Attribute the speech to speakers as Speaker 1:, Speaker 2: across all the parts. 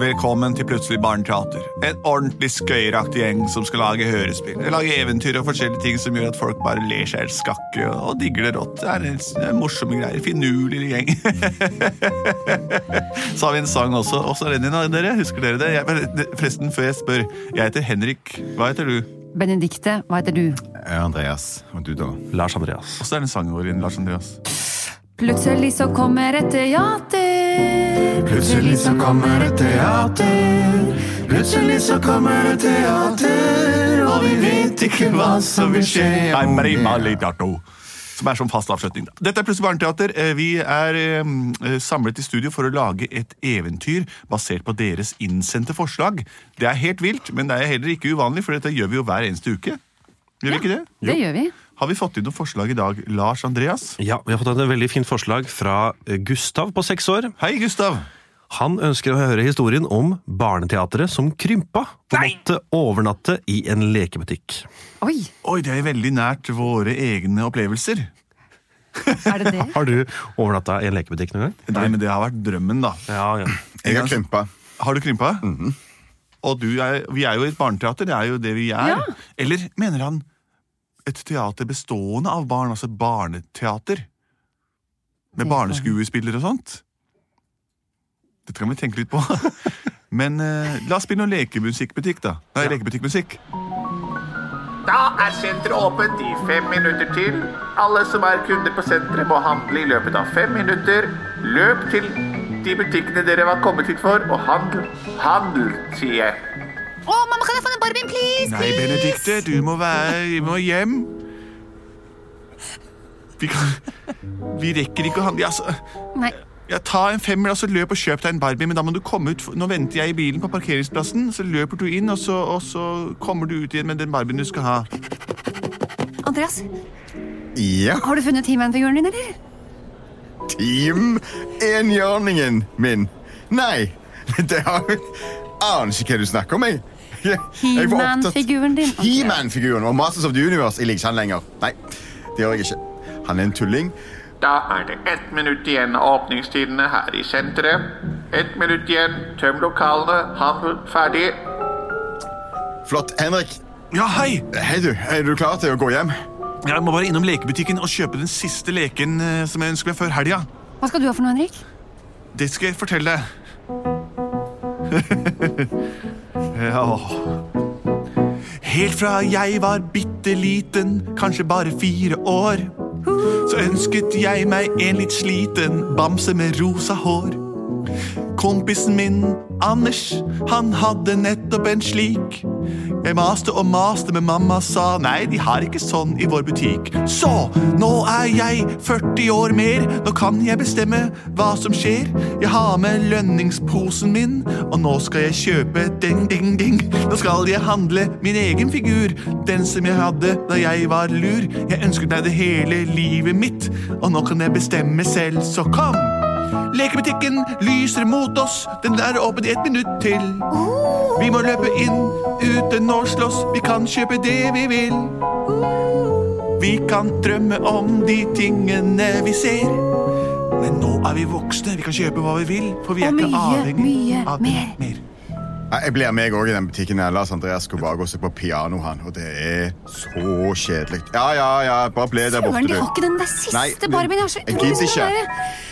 Speaker 1: Velkommen til Plutselig barneteater. En ordentlig skøyeraktig gjeng som skal lage hørespill. Lage eventyr og forskjellige ting som gjør at folk bare ler seg helt skakke og og digger det rått. Det er en s- en morsomme greier. Finurlig gjeng. så har vi en sang også. Og så er den din, da, dere. Husker dere det? Jeg, men, det- forresten, før jeg spør. Jeg heter Henrik. Hva heter du?
Speaker 2: Benedikte, hva heter du?
Speaker 3: Ja, Eh, Andreas. Og du, da?
Speaker 4: Lars Andreas.
Speaker 1: Og så er den sangen vår, din, Lars Andreas.
Speaker 2: Plutselig så kommer et teater.
Speaker 3: Plutselig så kommer et teater. Plutselig så kommer et teater, og vi vet ikke hva som vil skje.
Speaker 1: Nei, Marie Malidato. Som er som fast avslutning. da. Dette er Plutselig barneteater. Eh, Vi er eh, samlet i studio for å lage et eventyr basert på deres innsendte forslag. Det er helt vilt, men det er heller ikke uvanlig, for dette gjør vi jo hver eneste uke. Gjør vi ikke det?
Speaker 2: Det gjør vi.
Speaker 1: Har vi fått inn noen forslag i dag, Lars Andreas?
Speaker 4: Ja, Vi har fått et veldig fint forslag fra Gustav på seks år.
Speaker 1: Hei, Gustav.
Speaker 4: Han ønsker å høre historien om barneteatret som krympa og måtte overnatte i en lekebutikk.
Speaker 2: Oi,
Speaker 1: Oi, det er veldig nært våre egne opplevelser.
Speaker 2: er det det?
Speaker 4: Har du overnatta i en lekebutikk noen gang?
Speaker 1: Nei, men det har vært drømmen, da.
Speaker 4: Ja, ja.
Speaker 3: Jeg har krympa.
Speaker 1: Har du krympa? Og du er, vi er jo et barneteater, det er jo det vi er.
Speaker 2: Ja.
Speaker 1: Eller mener han et teater bestående av barn, altså barneteater? Med barneskuespillere og sånt? Dette kan vi tenke litt på. Men eh, la oss spille noe lekemusikkbutikk, da. Nei, lekebutikkmusikk.
Speaker 5: Da er senteret åpent i fem minutter til. Alle som er kunder på senteret må handle i løpet av fem minutter. Løp til de butikkene dere var kommet hit for, og handl. Handl, sier jeg.
Speaker 2: Å, mamma, kan jeg få en Barbie, please?
Speaker 1: Nei, Benedikte, du må være vi må hjem. Vi kan Vi rekker ikke å handle ja, altså,
Speaker 2: Nei.
Speaker 1: Ja, ta en femmer, og så løp og kjøp deg en Barbie, men da må du komme ut. Nå venter jeg i bilen på parkeringsplassen, så løper du inn, og så, og så kommer du ut igjen med den Barbien du skal ha.
Speaker 2: Andreas,
Speaker 3: Ja,
Speaker 2: har du funnet He-Man-figuren din, eller?
Speaker 3: Team Enhjørningen min. Nei, det har jeg Aner ikke hva du snakker om, jeg. Jeg- jeg var opptatt-
Speaker 2: He-Man-figuren din.
Speaker 3: He-Man-figuren og Masters of the Universe. Jeg liker ikke han lenger. Nei, det gjør jeg ikke. Han er en tulling.
Speaker 5: Da er det ett minutt igjen av åpningstidene her i senteret. Ett minutt igjen. Tøm lokalene. Handl ferdig.
Speaker 3: Flott. Henrik,
Speaker 1: Ja, hei!
Speaker 3: hei du. er du klar til å gå hjem?
Speaker 1: Jeg må bare innom lekebutikken og kjøpe den siste leken eh, som jeg ønsker meg før helga.
Speaker 2: Hva skal du ha for noe, Henrik?
Speaker 1: Det skal jeg fortelle deg. ja. åh. Helt fra jeg var bitte liten, kanskje bare fire år, så ønsket jeg meg en litt sliten bamse med rosa hår. Kompisen min, Anders, han hadde nettopp en slik. Jeg maste og maste, men mamma sa nei, de har ikke sånn i vår butikk. Så nå er jeg 40 år mer, nå kan jeg bestemme hva som skjer. Jeg har med lønningsposen min, og nå skal jeg kjøpe ding, ding, ding. Nå skal jeg handle min egen figur, den som jeg hadde da jeg var lur. Jeg ønsket meg det hele livet mitt, og nå kan jeg bestemme selv, så kom! Lekebutikken lyser mot oss, den er åpen i ett minutt til. Vi må løpe inn uten å slåss. Vi kan kjøpe det vi vil. Vi kan drømme om de tingene vi ser. Men nå er vi voksne. Vi kan kjøpe hva vi vil, for vi er
Speaker 2: Og
Speaker 1: ikke
Speaker 2: mye,
Speaker 1: avhengig
Speaker 2: mye
Speaker 1: av
Speaker 2: mer.
Speaker 1: mer.
Speaker 3: Nei, Jeg blir med òg i den butikken. her. Lars Andreas skulle bare gå og se på piano, han. Og det er så kjedelig. Ja, ja, ja, bare ble der borte,
Speaker 2: Søren,
Speaker 3: du.
Speaker 2: de har ikke den der
Speaker 3: Nei,
Speaker 2: siste
Speaker 3: du-
Speaker 2: Barbien. Jeg har så
Speaker 3: jeg gidder
Speaker 2: utrolig lyst til å
Speaker 3: ikke.
Speaker 2: være der.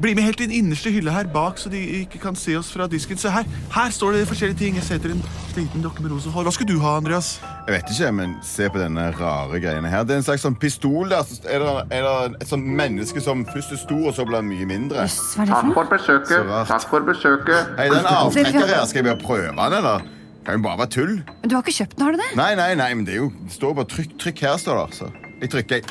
Speaker 1: Bli med helt til den innerste hylla her bak, så de ikke kan se oss fra disken. Se her, her står det forskjellige ting. Jeg ser etter en sliten dokke med rosa hår. Hva skal du ha, Andreas?
Speaker 3: Jeg vet ikke, men se på denne rare greiene her. Det er en slags sånn pistol der. Så er det, er det et sånt menneske som først er stor, og så blir mye mindre?
Speaker 2: Jøss, Hva er det
Speaker 5: Takk
Speaker 2: for noe?
Speaker 5: for besøket.
Speaker 3: Så rart.
Speaker 5: Takk for besøket.
Speaker 3: Hei, den avtrekker her. Skal jeg bare prøve den, eller? Kan jo bare være tull.
Speaker 2: Men Du har ikke kjøpt den, har du det?
Speaker 3: Nei, nei, nei, men det er jo det står bare trykk, trykk her, står det. Så jeg trykker, jeg.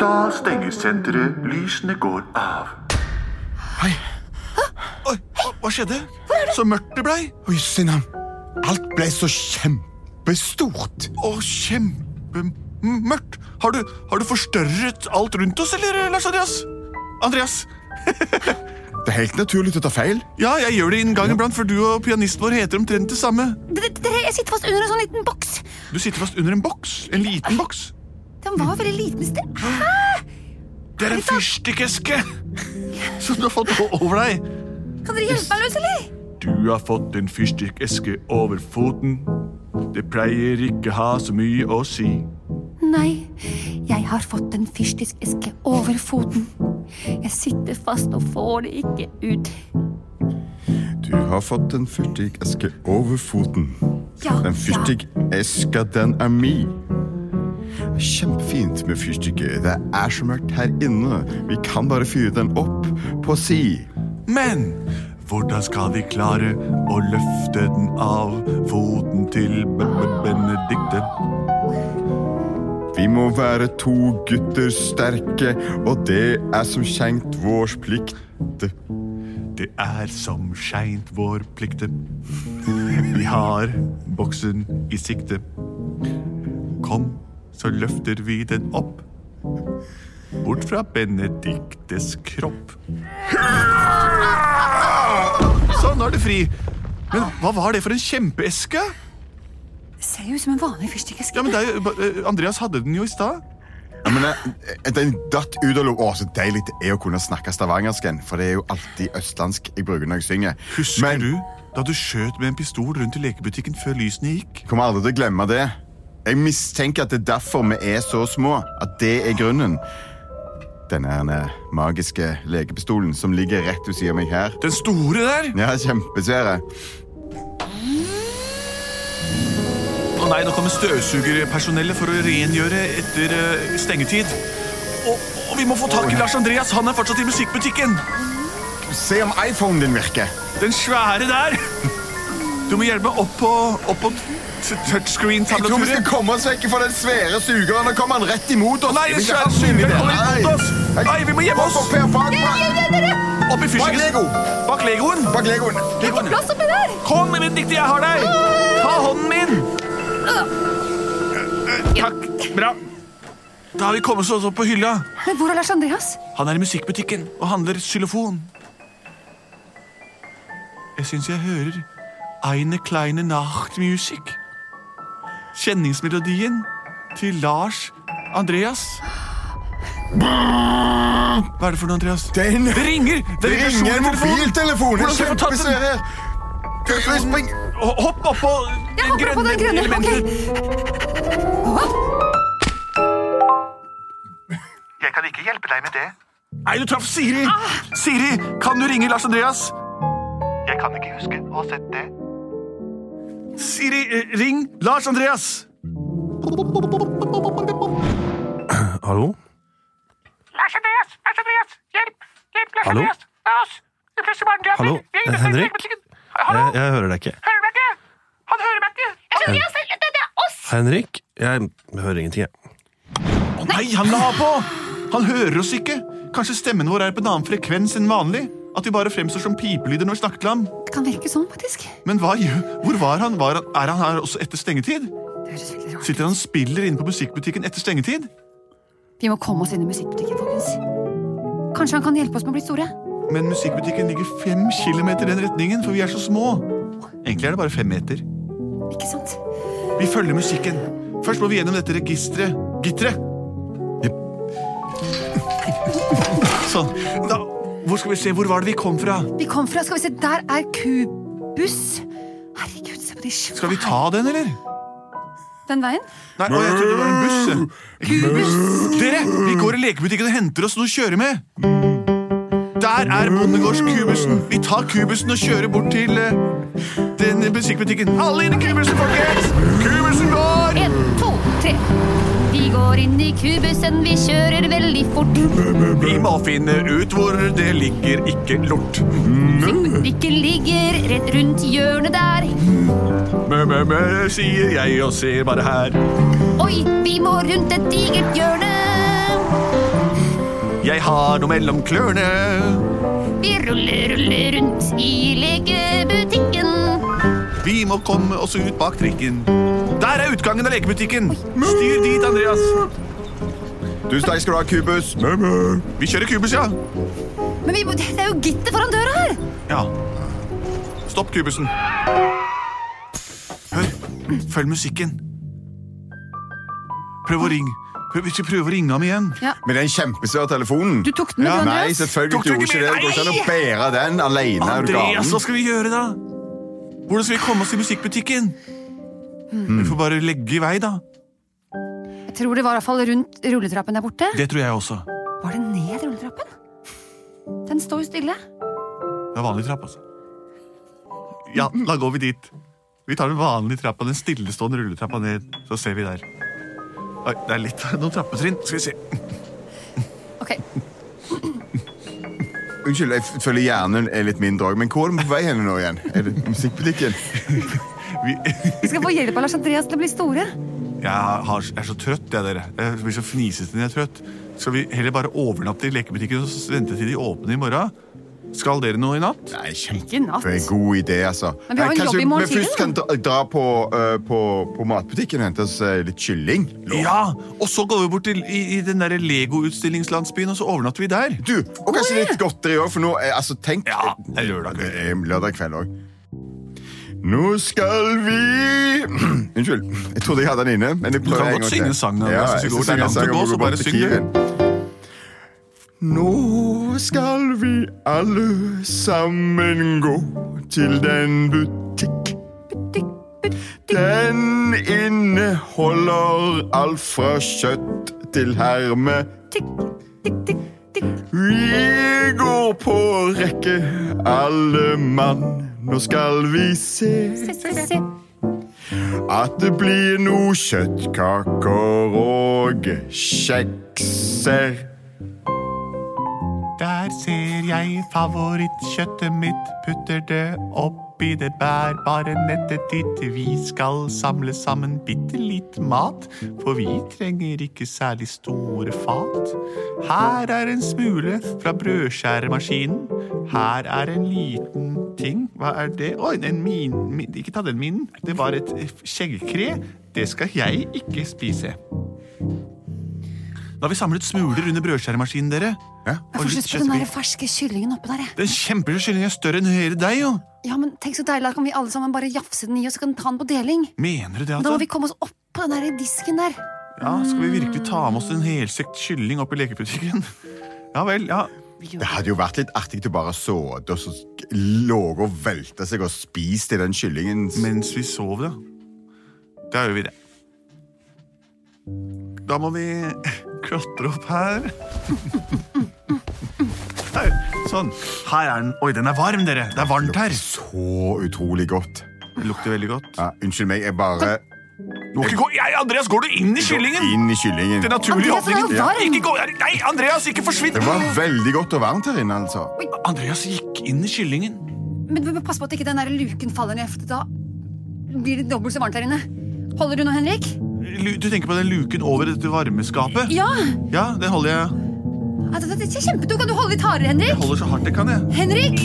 Speaker 5: Da stenger senteret. Lysene går av.
Speaker 1: Oi, hva skjedde? Så mørkt det blei.
Speaker 3: Oi, Sinnam. Alt ble så kjempestort.
Speaker 1: Å, kjempemørkt. Har du, har du forstørret alt rundt oss, eller, Lars Andreas? Andreas?
Speaker 3: Det er helt naturlig å ta feil.
Speaker 1: Ja, jeg gjør det en gang iblant, for du og pianisten vår heter omtrent det samme.
Speaker 2: Det- det- det- Jeg sitter fast under en sånn liten boks.
Speaker 1: Du sitter fast under en boks. En liten boks.
Speaker 2: Den var veldig liten i sted. Hæ?
Speaker 1: Det er en fyrstikkeske som du har fått o- over deg.
Speaker 2: Kan dere hjelpe meg løs, eller?
Speaker 1: Du har fått en fyrstikkeske over foten. Det pleier ikke ha så mye å si.
Speaker 2: Nei, jeg har fått en fyrstisk eske over foten. Jeg sitter fast og får det ikke ut.
Speaker 3: Du har fått en fyrstikkeske over foten.
Speaker 2: Ja,
Speaker 3: Den fyrstikkeska, den er mi. Det er Kjempefint med fyrstikker. Det er så mørkt her inne. Vi kan bare fyre den opp på si.
Speaker 1: Men hvordan skal vi klare å løfte den av foten til B- B- Benedikte?
Speaker 3: Vi må være to gutter sterke, og det er som kjent vår plikt.
Speaker 1: Det er som skeint vår plikte. Vi har boksen i sikte. Kom, så løfter vi den opp. Bort fra Benediktes kropp. Sånn, nå er det fri. Men hva var det for en kjempeeske?
Speaker 2: Det ser jo ut som en vanlig fyrstikkeske.
Speaker 1: Ja, men det er jo, eh, Andreas hadde den jo i stad.
Speaker 3: Ja, men jeg, Den datt ut av lo... Å, så deilig det er å kunne snakke stavangersken, for det er jo alltid østlandsk jeg bruker når jeg synger.
Speaker 1: Husker
Speaker 3: men,
Speaker 1: du da du skjøt med en pistol rundt i lekebutikken før lysene gikk?
Speaker 3: Kommer aldri til å glemme det. Jeg mistenker at det er derfor vi er så små. At det er grunnen. Denne her magiske lekepistolen som ligger rett ved siden av meg her.
Speaker 1: Den store der?
Speaker 3: Ja, kjempesvære.
Speaker 1: Å nei, nå kommer støvsugerpersonellet for å rengjøre etter eh, stengetid. Og, og vi må få tak i Lars Andreas, han er fortsatt i musikkbutikken.
Speaker 3: Se om iPhonen din virker.
Speaker 1: Den svære der. Du må hjelpe meg opp på, opp på t-
Speaker 3: Jeg tror vi skal
Speaker 1: touchscreen-tablaturet.
Speaker 3: komme oss vekk fra den svære sugeren. Nå kommer han rett imot oss.
Speaker 1: Nei, den
Speaker 3: Vi
Speaker 1: svære
Speaker 3: skal ha skyld i
Speaker 1: sugeren
Speaker 3: det.
Speaker 1: kommer imot
Speaker 3: Nei.
Speaker 1: oss. Nei, vi må gjemme
Speaker 3: Bak
Speaker 1: oss.
Speaker 3: opp her, bak, bak,
Speaker 1: Opp i
Speaker 3: bak Lego.
Speaker 1: fyrstikken. Bak legoen.
Speaker 3: Bak Legoen.
Speaker 1: legoen.
Speaker 2: Plass oppi der!
Speaker 1: Kom, Benedikte, jeg har deg. Ta hånden min. Takk. Bra. Da har vi kommet oss opp på hylla.
Speaker 2: Men hvor er Lars Andreas?
Speaker 1: Han er i musikkbutikken og handler xylofon. Jeg syns jeg hører Eine kleine Nachtmusik. Kjenningsmelodien til Lars Andreas. Hva er det for noe, Andreas?
Speaker 3: Det er en-
Speaker 1: det ringer! Det
Speaker 3: Det ringer en
Speaker 1: personlig
Speaker 3: mobiltelefon.
Speaker 1: Hvordan skal jeg få tatt den?
Speaker 3: Kjempesvær her. Spring.
Speaker 1: Ho- Hopp oppå
Speaker 2: Jeg hopper opp på den grønne. Ok.
Speaker 5: Jeg kan ikke hjelpe deg med det.
Speaker 1: Nei, du traff Siri!
Speaker 2: Ah.
Speaker 1: Siri, kan du ringe Lars Andreas?
Speaker 5: Jeg kan ikke huske å ha sett det.
Speaker 1: Siri, eh, ring Lars Andreas!
Speaker 4: Hallo?
Speaker 5: Lars Andreas! Lars Andreas! Hjelp! Hjelp, Lars
Speaker 4: Hallo?
Speaker 5: Andreas! Det er oss! Det fleste barndraper!
Speaker 4: Hallo?
Speaker 5: Jeg er
Speaker 6: Eh,
Speaker 5: i
Speaker 4: Henrik?
Speaker 5: lekebutikken. Hallo?
Speaker 4: Jeg, jeg hører deg ikke.
Speaker 5: Hører du meg ikke? Han hører meg ikke!
Speaker 4: Henrik? Jeg hører ingenting, jeg.
Speaker 1: Å nei, han la på! Han hører oss ikke. Kanskje stemmen vår er på en annen frekvens enn vanlig? At vi bare fremstår som pipelyder når vi snakker til ham?
Speaker 2: Det kan virke sånn, faktisk.
Speaker 1: Men hva, gjør- hvor var han? Var han? Er han her også etter stengetid?
Speaker 2: Det høres veldig rart ut.
Speaker 1: Sitter han og spiller inne på musikkbutikken etter stengetid?
Speaker 2: Vi må komme oss inn i musikkbutikken, folkens. Kanskje han kan hjelpe oss med å bli store?
Speaker 1: Men musikkbutikken ligger fem kilometer i den retningen, for vi er så små. Egentlig er det bare fem meter.
Speaker 2: Ikke sant?
Speaker 1: Vi følger musikken. Først må vi gjennom dette registeret. Gitteret. Sånn. Da, hvor skal vi se? Hvor var det vi kom fra?
Speaker 2: Vi kom fra Skal vi se, der er kubus. Herregud, se på de svære
Speaker 1: Skal vi ta den, eller?
Speaker 2: Den veien?
Speaker 1: Nei, å, jeg trodde det var en buss. jeg. Dere, vi går i lekebutikken og henter oss noe å kjøre med. Der er bondegårdskubussen. Vi tar kubussen og kjører bort til eh, den musikkbutikken. Alle inn i kubussen, folkens! Kubussen går!
Speaker 2: En, to, tre. Vi går inn i kubussen, vi kjører veldig fort.
Speaker 1: Vi må finne ut hvor det ligger ikke lort.
Speaker 2: Butikken ligger rett rundt hjørnet der.
Speaker 1: Mø, mø, mø, sier jeg og ser bare her.
Speaker 2: Oi, vi må rundt et digert hjørne.
Speaker 1: Jeg har noe mellom klørne.
Speaker 2: Vi ruller, ruller rundt i lekebutikken.
Speaker 1: Vi må komme oss ut bak trikken. Der er utgangen av lekebutikken. Styr dit, Andreas.
Speaker 3: Tusen takk skal du ha, Kubus.
Speaker 1: Vi kjører kubus, ja.
Speaker 2: Men vi, må- det er jo gitter foran døra her.
Speaker 1: Ja. Stopp kubusen. Hør. Følg musikken. Prøv å ringe. Kan vi ikke prøve å ringe ham igjen?
Speaker 2: Ja.
Speaker 3: Med den kjempesvære telefonen.
Speaker 2: Du tok den, du, Andreas?
Speaker 3: Nei, selvfølgelig
Speaker 1: Tok du
Speaker 3: gjorde
Speaker 1: ikke
Speaker 3: ikke det.
Speaker 1: med?
Speaker 3: Det går ikke an å bære den alene. er
Speaker 1: Andreas,
Speaker 3: du
Speaker 1: hva
Speaker 2: altså.
Speaker 3: galen?
Speaker 1: skal vi gjøre da? Hvordan skal vi komme oss til musikkbutikken?
Speaker 3: Hmm.
Speaker 1: Vi får bare legge i vei, da.
Speaker 2: Jeg tror det var i hvert fall rundt rulletrappen der borte.
Speaker 1: Det tror jeg også. Det
Speaker 2: Var det ned rulletrappen? Den står jo stille.
Speaker 1: er vanlig trapp, altså. Ja, da går vi dit. Vi tar den vanlige trappa, den stillestående rulletrappa ned, så ser vi der. Oi, det er litt noen trappetrinn. Skal vi se.
Speaker 2: Ok,
Speaker 3: Unnskyld, jeg f- føler hjernen er litt mindre òg, men hvor er vi på vei hen nå igjen? Er det musikkbutikken?
Speaker 1: Vi,
Speaker 2: Vi skal få hjelp av Lars Andreas til å bli store.
Speaker 1: jeg, har, jeg er så trøtt, jeg, dere. Jeg blir så fnisete når jeg er trøtt. Skal vi heller bare overnatte i lekebutikken og s- vente til de åpner i morgen? Skal dere noe i natt?
Speaker 3: Nei,
Speaker 2: Ikke i natt.
Speaker 3: kjempegod idé, altså.
Speaker 2: Men vi har
Speaker 3: Nei,
Speaker 2: en
Speaker 3: kanskje
Speaker 2: jobb i morgen
Speaker 3: vi først
Speaker 2: tidlig,
Speaker 3: kan dra, dra på, eh, på, på matbutikken og hente oss eh, litt kylling. Lå.
Speaker 1: Ja! Og så går vi bort til i, i den der Lego-utstillingslandsbyen, og så overnatter vi der.
Speaker 3: Du, og kanskje litt godteri òg, for nå eh, altså, tenk,
Speaker 1: Ja, det er lørdag kveld.
Speaker 3: Det er lørdag kveld òg. Nå skal vi Unnskyld. Jeg trodde jeg hadde den inne. men jeg
Speaker 1: kan
Speaker 3: prøver en
Speaker 1: godt
Speaker 3: gang til.
Speaker 1: synge sangen, Andreas, hvis
Speaker 3: jeg
Speaker 1: vi går
Speaker 3: skal synge
Speaker 1: der
Speaker 3: en
Speaker 1: langt å
Speaker 3: sang
Speaker 1: gå,
Speaker 3: om å
Speaker 1: så
Speaker 3: bort
Speaker 1: bare
Speaker 3: til
Speaker 1: syng den.
Speaker 3: Kiwien. Nå skal vi alle sammen gå til den butikk. Den inneholder alt fra kjøtt til herme. Vi går på rekke, alle mann. Nå skal vi se at det blir noe kjøttkaker og kjekser.
Speaker 1: Der ser jeg favorittkjøttet mitt, putter det oppi det bærbare nettet ditt. Vi skal samle sammen bitte litt mat, for vi trenger ikke særlig store fat. Her er en smule fra brødskjæremaskinen. Her er en liten ting. Hva er det? Oi, en min, min Ikke ta den minen. Det var et eh, skjeggkre. Det skal jeg ikke spise. Da har vi samlet smuler under brødskjæremaskinen, dere.
Speaker 3: Ja.
Speaker 2: Jeg får
Speaker 1: litt
Speaker 2: lyst på den
Speaker 1: kjøttbit.
Speaker 2: der ferske kyllingen oppå der. jeg.
Speaker 1: Den kjempestore kyllingen er større enn hele deg, jo.
Speaker 2: Ja, men tenk så deilig, Da kan vi alle sammen bare jafse den i, og så kan den ta den på deling.
Speaker 1: Mener du det,
Speaker 2: Da må
Speaker 1: altså?
Speaker 2: vi komme oss opp på den der disken der.
Speaker 1: Ja, skal vi virkelig ta med oss en helsekt kylling opp i lekebutikken? Ja vel, ja.
Speaker 3: Det hadde jo vært litt artig til bare å såde og så låge og velte seg og spise i den kyllingen.
Speaker 1: Mens vi sover, da. Da gjør vi det. Da må vi klatre opp her. Der, sånn. Her er den. Oi, den er varm, dere. Det er varmt her.
Speaker 3: Så utrolig godt.
Speaker 1: Det lukter veldig godt.
Speaker 3: Ja, unnskyld meg, jeg bare
Speaker 1: Må ikke gå. Jeg, Andreas, går du inn i kyllingen?
Speaker 3: inn i kyllingen.
Speaker 1: Det er naturlig
Speaker 2: Andreas, den er jo
Speaker 1: åpning.
Speaker 2: varm.
Speaker 1: Ikke gå. Nei, Andreas, ikke forsvinn!
Speaker 3: Det var veldig godt og varmt her inne, altså.
Speaker 1: Andreas gikk inn i kyllingen.
Speaker 2: Men vi må passe på at ikke den der luken faller ned, for da blir det dobbelt så varmt der inne. Holder du nå, Henrik?
Speaker 1: Lu- Du tenker på den luken over dette varmeskapet?
Speaker 2: Ja!
Speaker 1: Ja, den holder jeg.
Speaker 2: Ja, Det det- det er kjempedumt. Kan du holde litt hardere, Henrik?
Speaker 1: Jeg holder så hardt jeg kan, jeg.
Speaker 2: Henrik!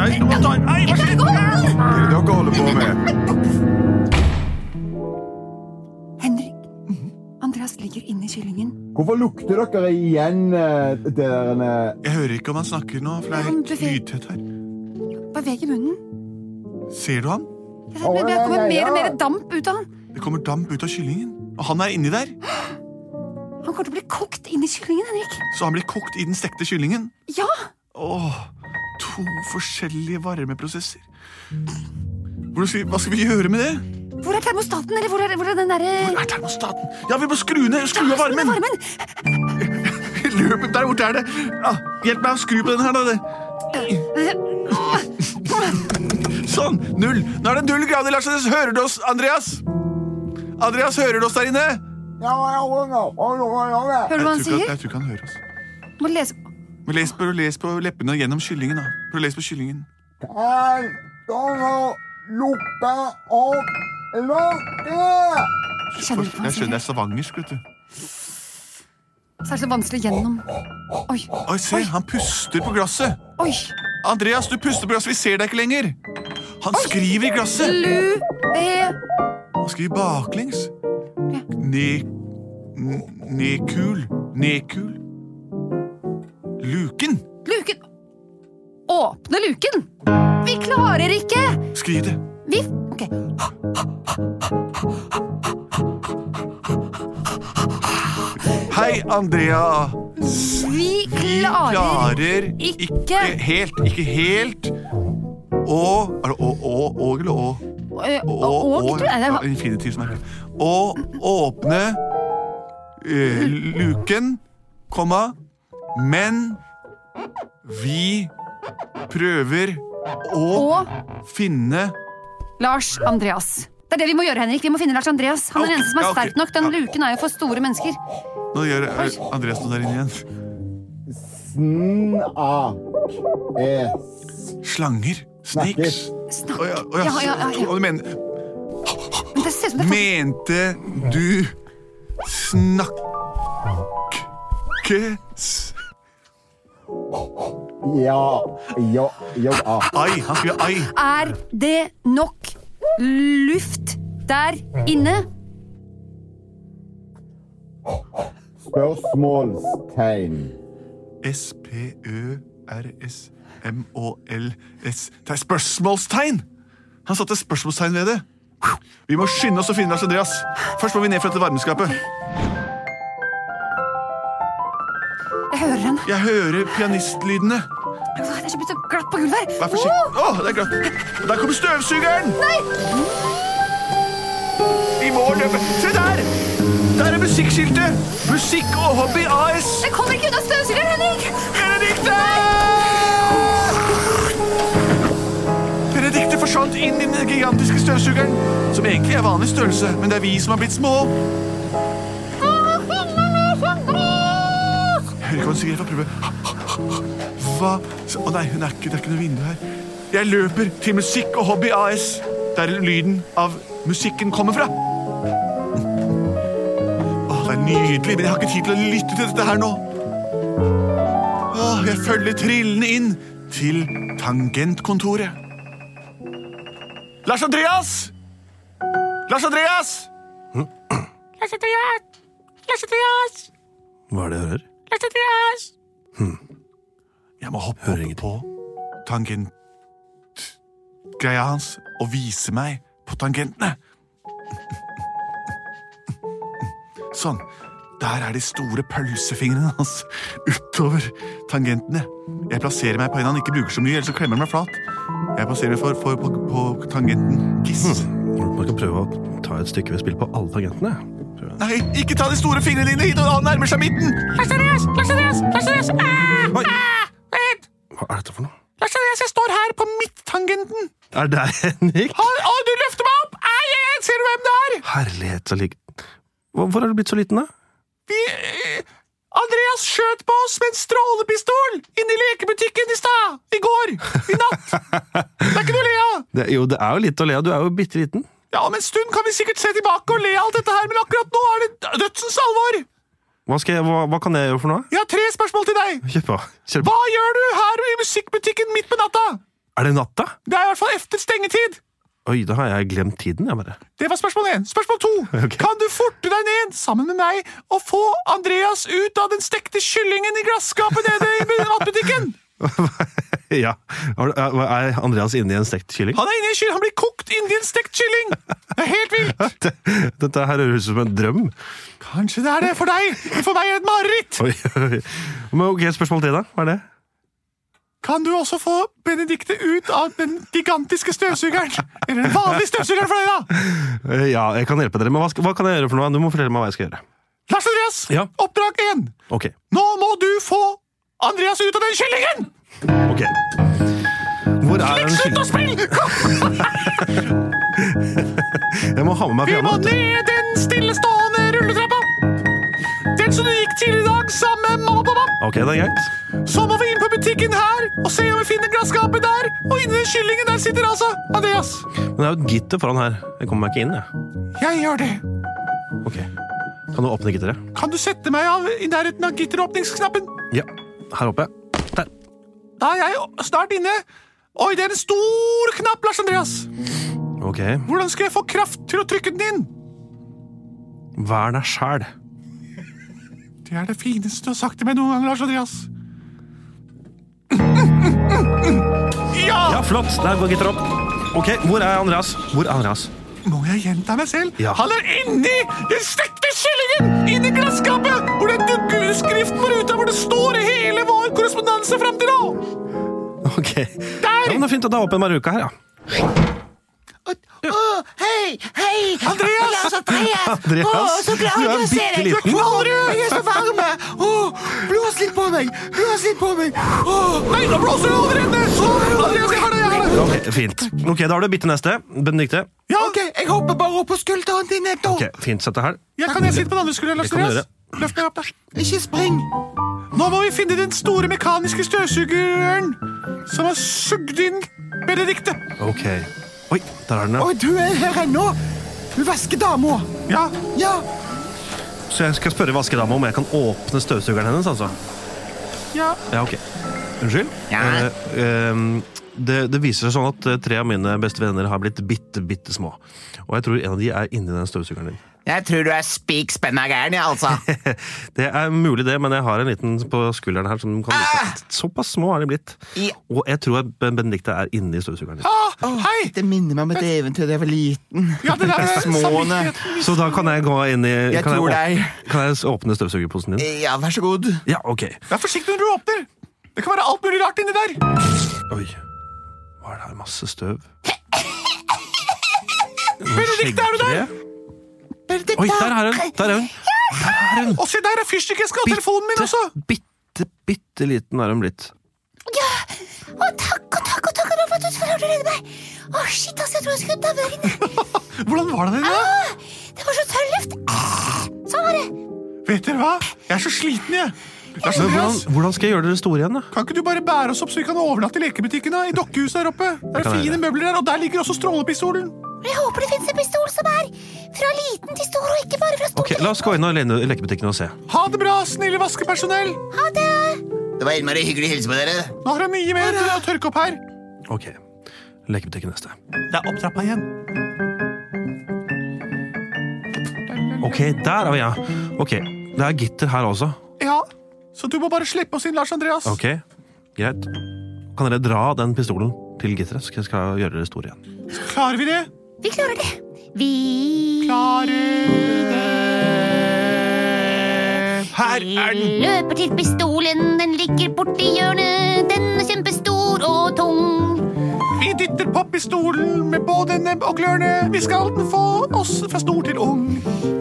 Speaker 1: Nei, nå må jeg ta Nei, hva skjer?
Speaker 3: Hva er det dere holder på med?
Speaker 2: Henrik. Andreas ligger inni kyllingen.
Speaker 3: Hvorfor lukter dere igjen det der
Speaker 1: Jeg hører ikke om han snakker nå, for det er
Speaker 2: Han
Speaker 1: helt
Speaker 2: beveger-
Speaker 1: lydtett her.
Speaker 2: Beveg i munnen.
Speaker 1: Ser du han?
Speaker 2: Jeg vet, men Det kommer mer og mer damp ut av han.
Speaker 1: Det kommer damp ut av kyllingen. Og han er inni der,
Speaker 2: Han kommer til å bli kokt inni kyllingen, Henrik.
Speaker 1: så han blir kokt i den stekte kyllingen.
Speaker 2: Ja!
Speaker 1: Åh, to forskjellige varmeprosesser. Hvordan skal vi, hva skal vi gjøre med det?
Speaker 2: Hvor er termostaten, eller hvor er, hvor er den derre altså,
Speaker 1: Er termostaten Ja, vi må skru ned! Skru av varmen!
Speaker 2: varmen?
Speaker 1: Løp der borte er det! Ah, hjelp meg å skru på den her, da. det.
Speaker 2: Eh,
Speaker 1: Sånn! Null! Nå er det null grader, Lars. Andreas. Hører du oss, Andreas? Andreas, hører du oss der inne?
Speaker 7: e
Speaker 2: Hører du hva han
Speaker 1: tror ikke,
Speaker 2: sier?
Speaker 1: jeg tror ikke han hører oss.
Speaker 2: Må lese
Speaker 1: Men les på, les på leppene og gjennom kyllingen, da. Prøv å lese på kyllingen.
Speaker 2: Kjenner du på hva han
Speaker 1: Jeg skjønner det
Speaker 2: sier?
Speaker 1: er stavangersk, vet du.
Speaker 2: Så er det så vanskelig gjennom Oi,
Speaker 1: Oi, se, han puster på glasset.
Speaker 2: oi!
Speaker 1: Andreas, du puster på glasset. Vi ser deg ikke lenger. Han skriver i glasset.
Speaker 2: Lu... e-
Speaker 1: Han skriver baklengs. Ne... n- Nekul. Nekul. Luken.
Speaker 2: Luken Åpne luken! Vi klarer ikke!
Speaker 1: Skriv det.
Speaker 2: Vi Ok.
Speaker 1: Andrea.
Speaker 2: Vi
Speaker 1: Vi
Speaker 2: klarer
Speaker 1: klarer
Speaker 2: ikke-
Speaker 1: ikke helt Ikke helt å Er det å, å, å eller å?
Speaker 2: Ø,
Speaker 1: Å,
Speaker 2: Og, og,
Speaker 1: å,
Speaker 2: Eh, tror jeg det
Speaker 1: ja,
Speaker 2: var.
Speaker 1: infinitiv som er Å åpne eh, luken, komma, men vi prøver å
Speaker 2: Og
Speaker 1: finne
Speaker 2: Lars Andreas. Det er det vi må gjøre, Henrik. Vi må finne Lars Andreas. Han er den
Speaker 1: Ok,
Speaker 2: eneste som er
Speaker 1: ja, ok.
Speaker 2: sterk nok. Den
Speaker 1: Ja.
Speaker 2: luken er jo for store mennesker.
Speaker 1: Nå gjør eh, Andreas noe der inne igjen.
Speaker 7: Snak.
Speaker 1: Slanger. Snakes.
Speaker 2: Snakk.
Speaker 1: Å ja, å ja,
Speaker 2: Ja, ja, ja, ja.
Speaker 1: å, du mener,
Speaker 2: Men det ser ut som det er
Speaker 1: mente du snakke... s-
Speaker 7: Ja. Jo, jo, ja.
Speaker 1: Ai, han skriver ai.
Speaker 2: Er det nok luft der inne?
Speaker 7: Spørsmålstegn.
Speaker 1: S-P-Ø-R-S-M-Å-L-S Det er spørsmålstegn! Han satte spørsmålstegn ved det. Vi må skynde oss å finne Lars Andreas. Først må vi ned fra dette varmeskapet.
Speaker 2: Jeg hører han.
Speaker 1: Jeg hører pianistlydene.
Speaker 2: Åh, Det er så blitt så glatt på gulvet her.
Speaker 1: Vær forsiktig. Å, det er glatt. Der kommer støvsugeren! Nei! Vi må løpe. Se der! Der er musikkskiltet! Musikk og hobby AS.
Speaker 2: Åh, jeg kommer ikke unna støvsugeren, Henrik!
Speaker 1: Benedikte! Benedikte forsvant inn i den gigantiske støvsugeren, som egentlig er vanlig størrelse, men det er vi som har blitt små. Jeg hører ikke hva hun sier. Jeg får prøve. Hva Å nei, hun er ikke, det er ikke noe vindu her. Jeg løper til Musikk og Hobby AS, der lyden av musikken kommer fra. Åh, det er nydelig, men jeg har ikke tid til å lytte til dette her nå. Åh, jeg følger trillene inn til tangentkontoret. Lars Andreas! Lars Andreas!
Speaker 4: Hva er det jeg hører?
Speaker 1: Jeg må hoppe
Speaker 4: Hører
Speaker 1: opp på
Speaker 4: ingenting.
Speaker 1: tangentgreia hans og vise meg på tangentene. Sånn. Der er de store pølsefingrene hans utover tangentene. Jeg plasserer meg på en han ikke bruker så mye, ellers så klemmer han meg flat. Jeg plasserer meg for, for, på, på tangenten giss.
Speaker 4: Man kan prøve å ta et stykke ved spill på alle tangentene. Prøve.
Speaker 1: Nei, ikke ta de store fingrene dine hit, og han nærmer seg midten!
Speaker 8: Lars Andreas, Lars Andreas, Lars Andreas! Ah!
Speaker 4: Oi,
Speaker 8: Ah! Vent!
Speaker 4: hva er dette for noe?
Speaker 1: Lars Andreas, jeg står her på midttangenten.
Speaker 4: Er det deg, Henrik?
Speaker 1: Å, å, du løfter meg opp! Ai, ai, ai, ser du hvem det er?
Speaker 4: Herlighet, så lik... Hvor hvor har du blitt så liten, da?
Speaker 1: Vi, eh, Andreas skjøt på oss med en strålepistol inne i lekebutikken i stad. I går. I natt. Det er ikke noe å le av.
Speaker 4: Det, jo, det er jo litt å le av. Du er jo bitte liten.
Speaker 1: Ja, om en stund kan vi sikkert se tilbake og le av alt dette her, men akkurat nå er det dødsens alvor.
Speaker 4: Hva, skal jeg, hva, hva kan jeg gjøre for noe?
Speaker 1: Jeg har tre spørsmål til deg.
Speaker 4: Kjør på. Kjør på.
Speaker 1: Hva gjør du her i musikkbutikken midt på natta?
Speaker 4: Er det natta?
Speaker 1: Det er i hvert fall efter stengetid.
Speaker 4: Oi, da har jeg glemt tiden, jeg bare.
Speaker 1: Det var spørsmål én. Spørsmål to.
Speaker 4: Ok.
Speaker 1: Kan du forte deg ned sammen med meg og få Andreas ut av den stekte kyllingen i glasskapet nede i matbutikken?
Speaker 4: ja. Har du- Er er Andreas inne i en stekt kylling?
Speaker 1: Han er inne i kyll, han blir kokt inni en stekt kylling! Det er helt vilt!
Speaker 4: Dette, dette her høres ut som en drøm.
Speaker 1: Kanskje det er det for deg, men for meg er det et mareritt!
Speaker 4: Oi, oi. Men ok, spørsmål til, da. Hva er det?
Speaker 1: Kan du også få Benedikte ut av den gigantiske støvsugeren? Eller den vanlige støvsugeren for deg, da!
Speaker 4: Eh, Ja, jeg kan hjelpe dere, men hva, skal, hva kan jeg gjøre for noe? Du må fortelle meg hva jeg skal gjøre.
Speaker 1: Lars Andreas,
Speaker 4: Ja.
Speaker 1: oppdrag én!
Speaker 4: Ok,
Speaker 1: Nå må du få Andreas ut av den kyllingen!
Speaker 4: ok. Hvor er den
Speaker 1: Slutt å
Speaker 4: kylling?
Speaker 1: spille!
Speaker 4: Jeg må ha med meg
Speaker 1: Vi må
Speaker 4: pianoet.
Speaker 1: ned den stillestående rulletrappa! Den som du gikk til i dag sammen med mamma og pappa.
Speaker 4: Ok, det er greit.
Speaker 1: Så må vi inn på butikken her og se om vi finner glasskapet der. Og inni den kyllingen der sitter altså Andreas.
Speaker 4: Men det er jo et gitter foran her. Jeg kommer meg ikke inn, jeg.
Speaker 1: Jeg gjør det.
Speaker 4: Ok. Kan du åpne gitteret?
Speaker 1: Kan du sette meg av i nærheten av gitteråpningsknappen?
Speaker 4: Ja. Her oppe. Der.
Speaker 1: Da er jeg snart inne. Oi, det er en stor knapp, Lars Andreas.
Speaker 4: Ok.
Speaker 1: Hvordan skal jeg få kraft til å trykke den inn?
Speaker 4: Vær deg sjæl.
Speaker 1: Det er det fineste du har sagt til meg noen gang, Lars Andreas.
Speaker 4: Ja,
Speaker 1: Ja!
Speaker 4: flott. Der går gitteret opp. Ok, hvor er Andreas? Hvor er Andreas?
Speaker 1: Må jeg gjenta meg selv?
Speaker 4: Ja.
Speaker 1: Han er inni den stekte kyllingen! Inni glasskapet! Hvor det dugger lille skriften på ruta hvor det står hele vår korrespondanse fram til nå!
Speaker 4: Ok. Ja, men det er fint å ta opp en maruka her, ja.
Speaker 6: Å, hei, hei! Andreas! Andreas!
Speaker 4: Andreas,
Speaker 6: Å, så glad
Speaker 4: du er
Speaker 6: jeg å se deg!
Speaker 4: bitteliten.
Speaker 6: Å, jeg er så varm! Å, blås litt på meg! Blås litt på meg! Å,
Speaker 1: Nei, nå blåser det over ende! Så, Andreas, jeg har det, jeg har det!
Speaker 4: Ok, Fint. Ok, Da har du bitte neste. Benedikte.
Speaker 6: ja. Ok, jeg hopper bare opp på skulderen din, Netto.
Speaker 4: Ok, fint, sett deg her.
Speaker 1: Jeg kan jeg sitte på den andre skulderen, Lars
Speaker 4: Det kan du
Speaker 1: Andreas? Løft meg opp, da.
Speaker 6: Ikke spring!
Speaker 1: Nå må vi finne den store mekaniske støvsugeren som har sugd inn Benedikte.
Speaker 4: Ok. Oi, der er den, ja.
Speaker 6: Og du er her ennå! Du vasker dama!
Speaker 1: Ja,
Speaker 6: Ja,
Speaker 4: Så jeg skal spørre vaskedama om jeg kan åpne støvsugeren hennes, altså.
Speaker 1: ja.
Speaker 4: Ja, ok. Unnskyld?
Speaker 6: Ja.
Speaker 4: Eh, ehm, det, det viser seg sånn at eh, tre av mine beste venner har blitt bitte, bitte små. Og jeg tror en av de er inni den støvsugeren din.
Speaker 6: jeg tror du er spik spenna gæren, jeg, altså.
Speaker 4: Det er mulig, det, men jeg har en liten på skulderen her. som kan vise. at Såpass små er de blitt.
Speaker 6: Ah! Ja.
Speaker 4: Og jeg tror at Ben- Benedicte er inni støvsugeren din.
Speaker 1: Ah, hei!
Speaker 6: Det minner meg om et eventyr da jeg var liten.
Speaker 1: Ja, det der er
Speaker 6: Småne.
Speaker 1: samvittigheten.
Speaker 4: Så da kan jeg gå inn i
Speaker 6: Jeg
Speaker 4: kan,
Speaker 6: tror
Speaker 4: jeg
Speaker 6: deg.
Speaker 4: åpne, kan jeg åpne støvsugerposen din?
Speaker 6: Ja, vær så god.
Speaker 4: Ja, ok.
Speaker 1: Vær forsiktig når du åpner. Det kan være alt mulig rart inni der.
Speaker 4: Oi. Hva er det her? Masse støv?
Speaker 1: Benedikte, er du der?
Speaker 4: Skjeggkre.
Speaker 6: Benedikte.
Speaker 4: Oi, der er hun! Der er hun! Der er hun.
Speaker 1: Og se, der er fyrstikkeska og telefonen min
Speaker 6: altså-
Speaker 1: også.
Speaker 4: bitte, bitte liten er hun blitt.
Speaker 9: Ja. Å, takk og takk og takk og takk for at du klarte å redde meg. Å, shit, altså, jeg tror jeg skulle dabbe der inne.
Speaker 1: Hvordan var det der?
Speaker 9: Å, Ah, det var så tørr luft. Sånn var det.
Speaker 1: Vet dere hva? Jeg er så sliten, jeg. Lars
Speaker 4: Men hvordan,
Speaker 1: Andreas,
Speaker 4: hvordan skal jeg gjøre dere store igjen, da?
Speaker 1: kan ikke du bare bære oss opp så vi kan overnatte i lekebutikken da, i dokkehuset der oppe? Det er
Speaker 4: kan jeg
Speaker 1: fine
Speaker 4: gjøre.
Speaker 1: møbler der, og der ligger også strålepistolen.
Speaker 9: Men jeg håper det finnes en pistol som er fra liten til stor, og ikke bare fra stor
Speaker 4: Ok, La oss gå inn og lene- i lekebutikken og se.
Speaker 1: Ha det bra, snille vaskepersonell.
Speaker 9: til Ha det.
Speaker 6: Det var innmari hyggelig å hilse på dere.
Speaker 1: Nå har jeg mye mer til å tørke opp her.
Speaker 4: Ok, lekebutikken neste.
Speaker 1: Det er opptrappa igjen.
Speaker 4: Ok, der er vi, ja. Ok, Det er gitter her også.
Speaker 1: Ja, så du må bare slippe oss inn, Lars Andreas.
Speaker 4: Ok, Greit. Kan dere dra den pistolen til gitteret, så skal jeg gjøre dere store igjen?
Speaker 1: Klarer vi det?
Speaker 9: Vi klarer det. Vi
Speaker 1: Klarer
Speaker 10: Her er den!
Speaker 9: løper til pistolen, den ligger borti hjørnet. Den er kjempestor og tung.
Speaker 1: Vi dytter pistolen med både nebb og klørne. Vi skal den få oss fra stor til ung.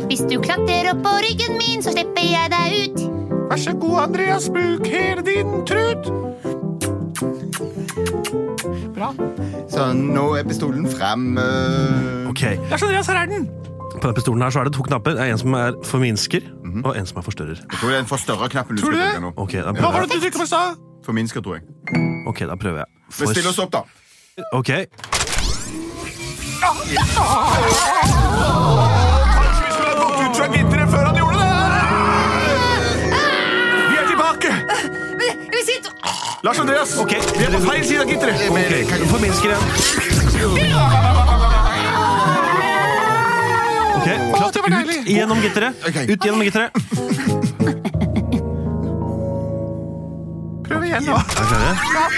Speaker 9: Hvis du klatrer opp på ryggen min, så slipper jeg deg ut.
Speaker 1: Vær så god, Andreas, bruk hele din trut. Bra.
Speaker 3: Så nå er pistolen frem. øh,
Speaker 4: Ok,
Speaker 1: Lars Andreas, her er den.
Speaker 4: På den pistolen her så er det to knapper. Det er En som er forminsker, og en som er forstørrer.
Speaker 3: Jeg tror det er den forstørra knappen du
Speaker 1: Tror du
Speaker 3: skal bruke
Speaker 1: det?
Speaker 3: nå.
Speaker 4: Ok, da
Speaker 1: Hva var
Speaker 4: prøver jeg.
Speaker 1: det du trykket på i stad?
Speaker 3: Forminsker, tror jeg.
Speaker 4: Ok, da prøver jeg.
Speaker 3: Men still oss opp, da.
Speaker 4: Ok,
Speaker 1: Vi skulle ha gått ut fra gitteret før han gjorde det. Vi er tilbake.
Speaker 2: Vi sitter
Speaker 1: Lars Andreas, vi er på feil side av gitteret.
Speaker 4: ok, forminsker igjen. Ok, klart
Speaker 1: det var deilig.
Speaker 4: ut gjennom gitteret.
Speaker 3: Ok.
Speaker 4: Ut gjennom gitteret.
Speaker 1: Prøv igjen nå.
Speaker 4: Er dere klare?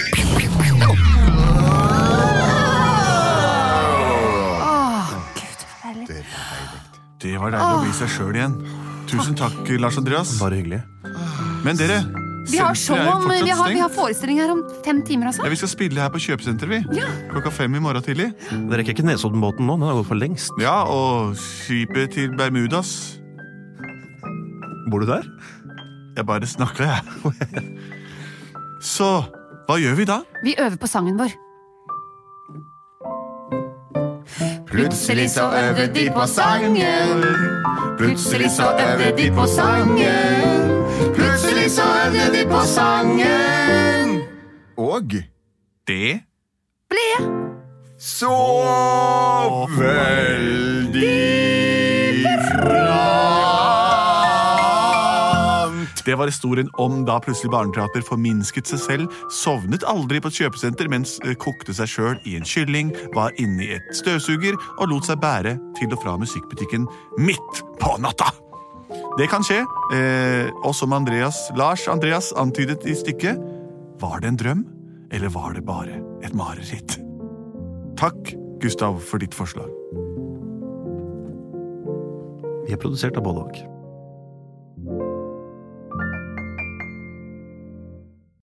Speaker 10: Det var deilig å bli seg sjøl igjen. Tusen takk, Lars Andreas.
Speaker 4: Bare hyggelig.
Speaker 10: Men dere,
Speaker 2: Vi har show
Speaker 10: senteret er jo
Speaker 2: om, vi
Speaker 10: fortsatt
Speaker 2: har, vi har
Speaker 10: stengt.
Speaker 2: forestilling her om fem timer, altså.
Speaker 10: Ja, vi skal spille her på kjøpesenteret, vi. Klokka fem i morgen tidlig.
Speaker 4: Dere rekker ikke Nesoddenbåten nå. Den har gått for lengst.
Speaker 10: Ja, og skipet til Bermudas.
Speaker 4: Bor du der?
Speaker 10: Jeg bare snakker, jeg. Så hva gjør vi da?
Speaker 2: Vi øver på sangen vår.
Speaker 3: Plutselig så øvde de på sangen. Plutselig så øvde de på sangen. Plutselig så øvde de på sangen. Og
Speaker 10: Det
Speaker 3: så veldig frant.
Speaker 10: Det var historien om da plutselig barneteater forminsket seg selv, sovnet aldri på et kjøpesenter, mens eh, kokte seg sjøl i en kylling, var inne i et støvsuger og lot seg bære til og fra musikkbutikken midt på natta. Det kan skje, eh, og som Andreas, Lars Andreas antydet i stykket, var det en drøm, eller var det bare et mareritt? Takk, Gustav, for ditt forslag.
Speaker 4: Vi er produsert av både og.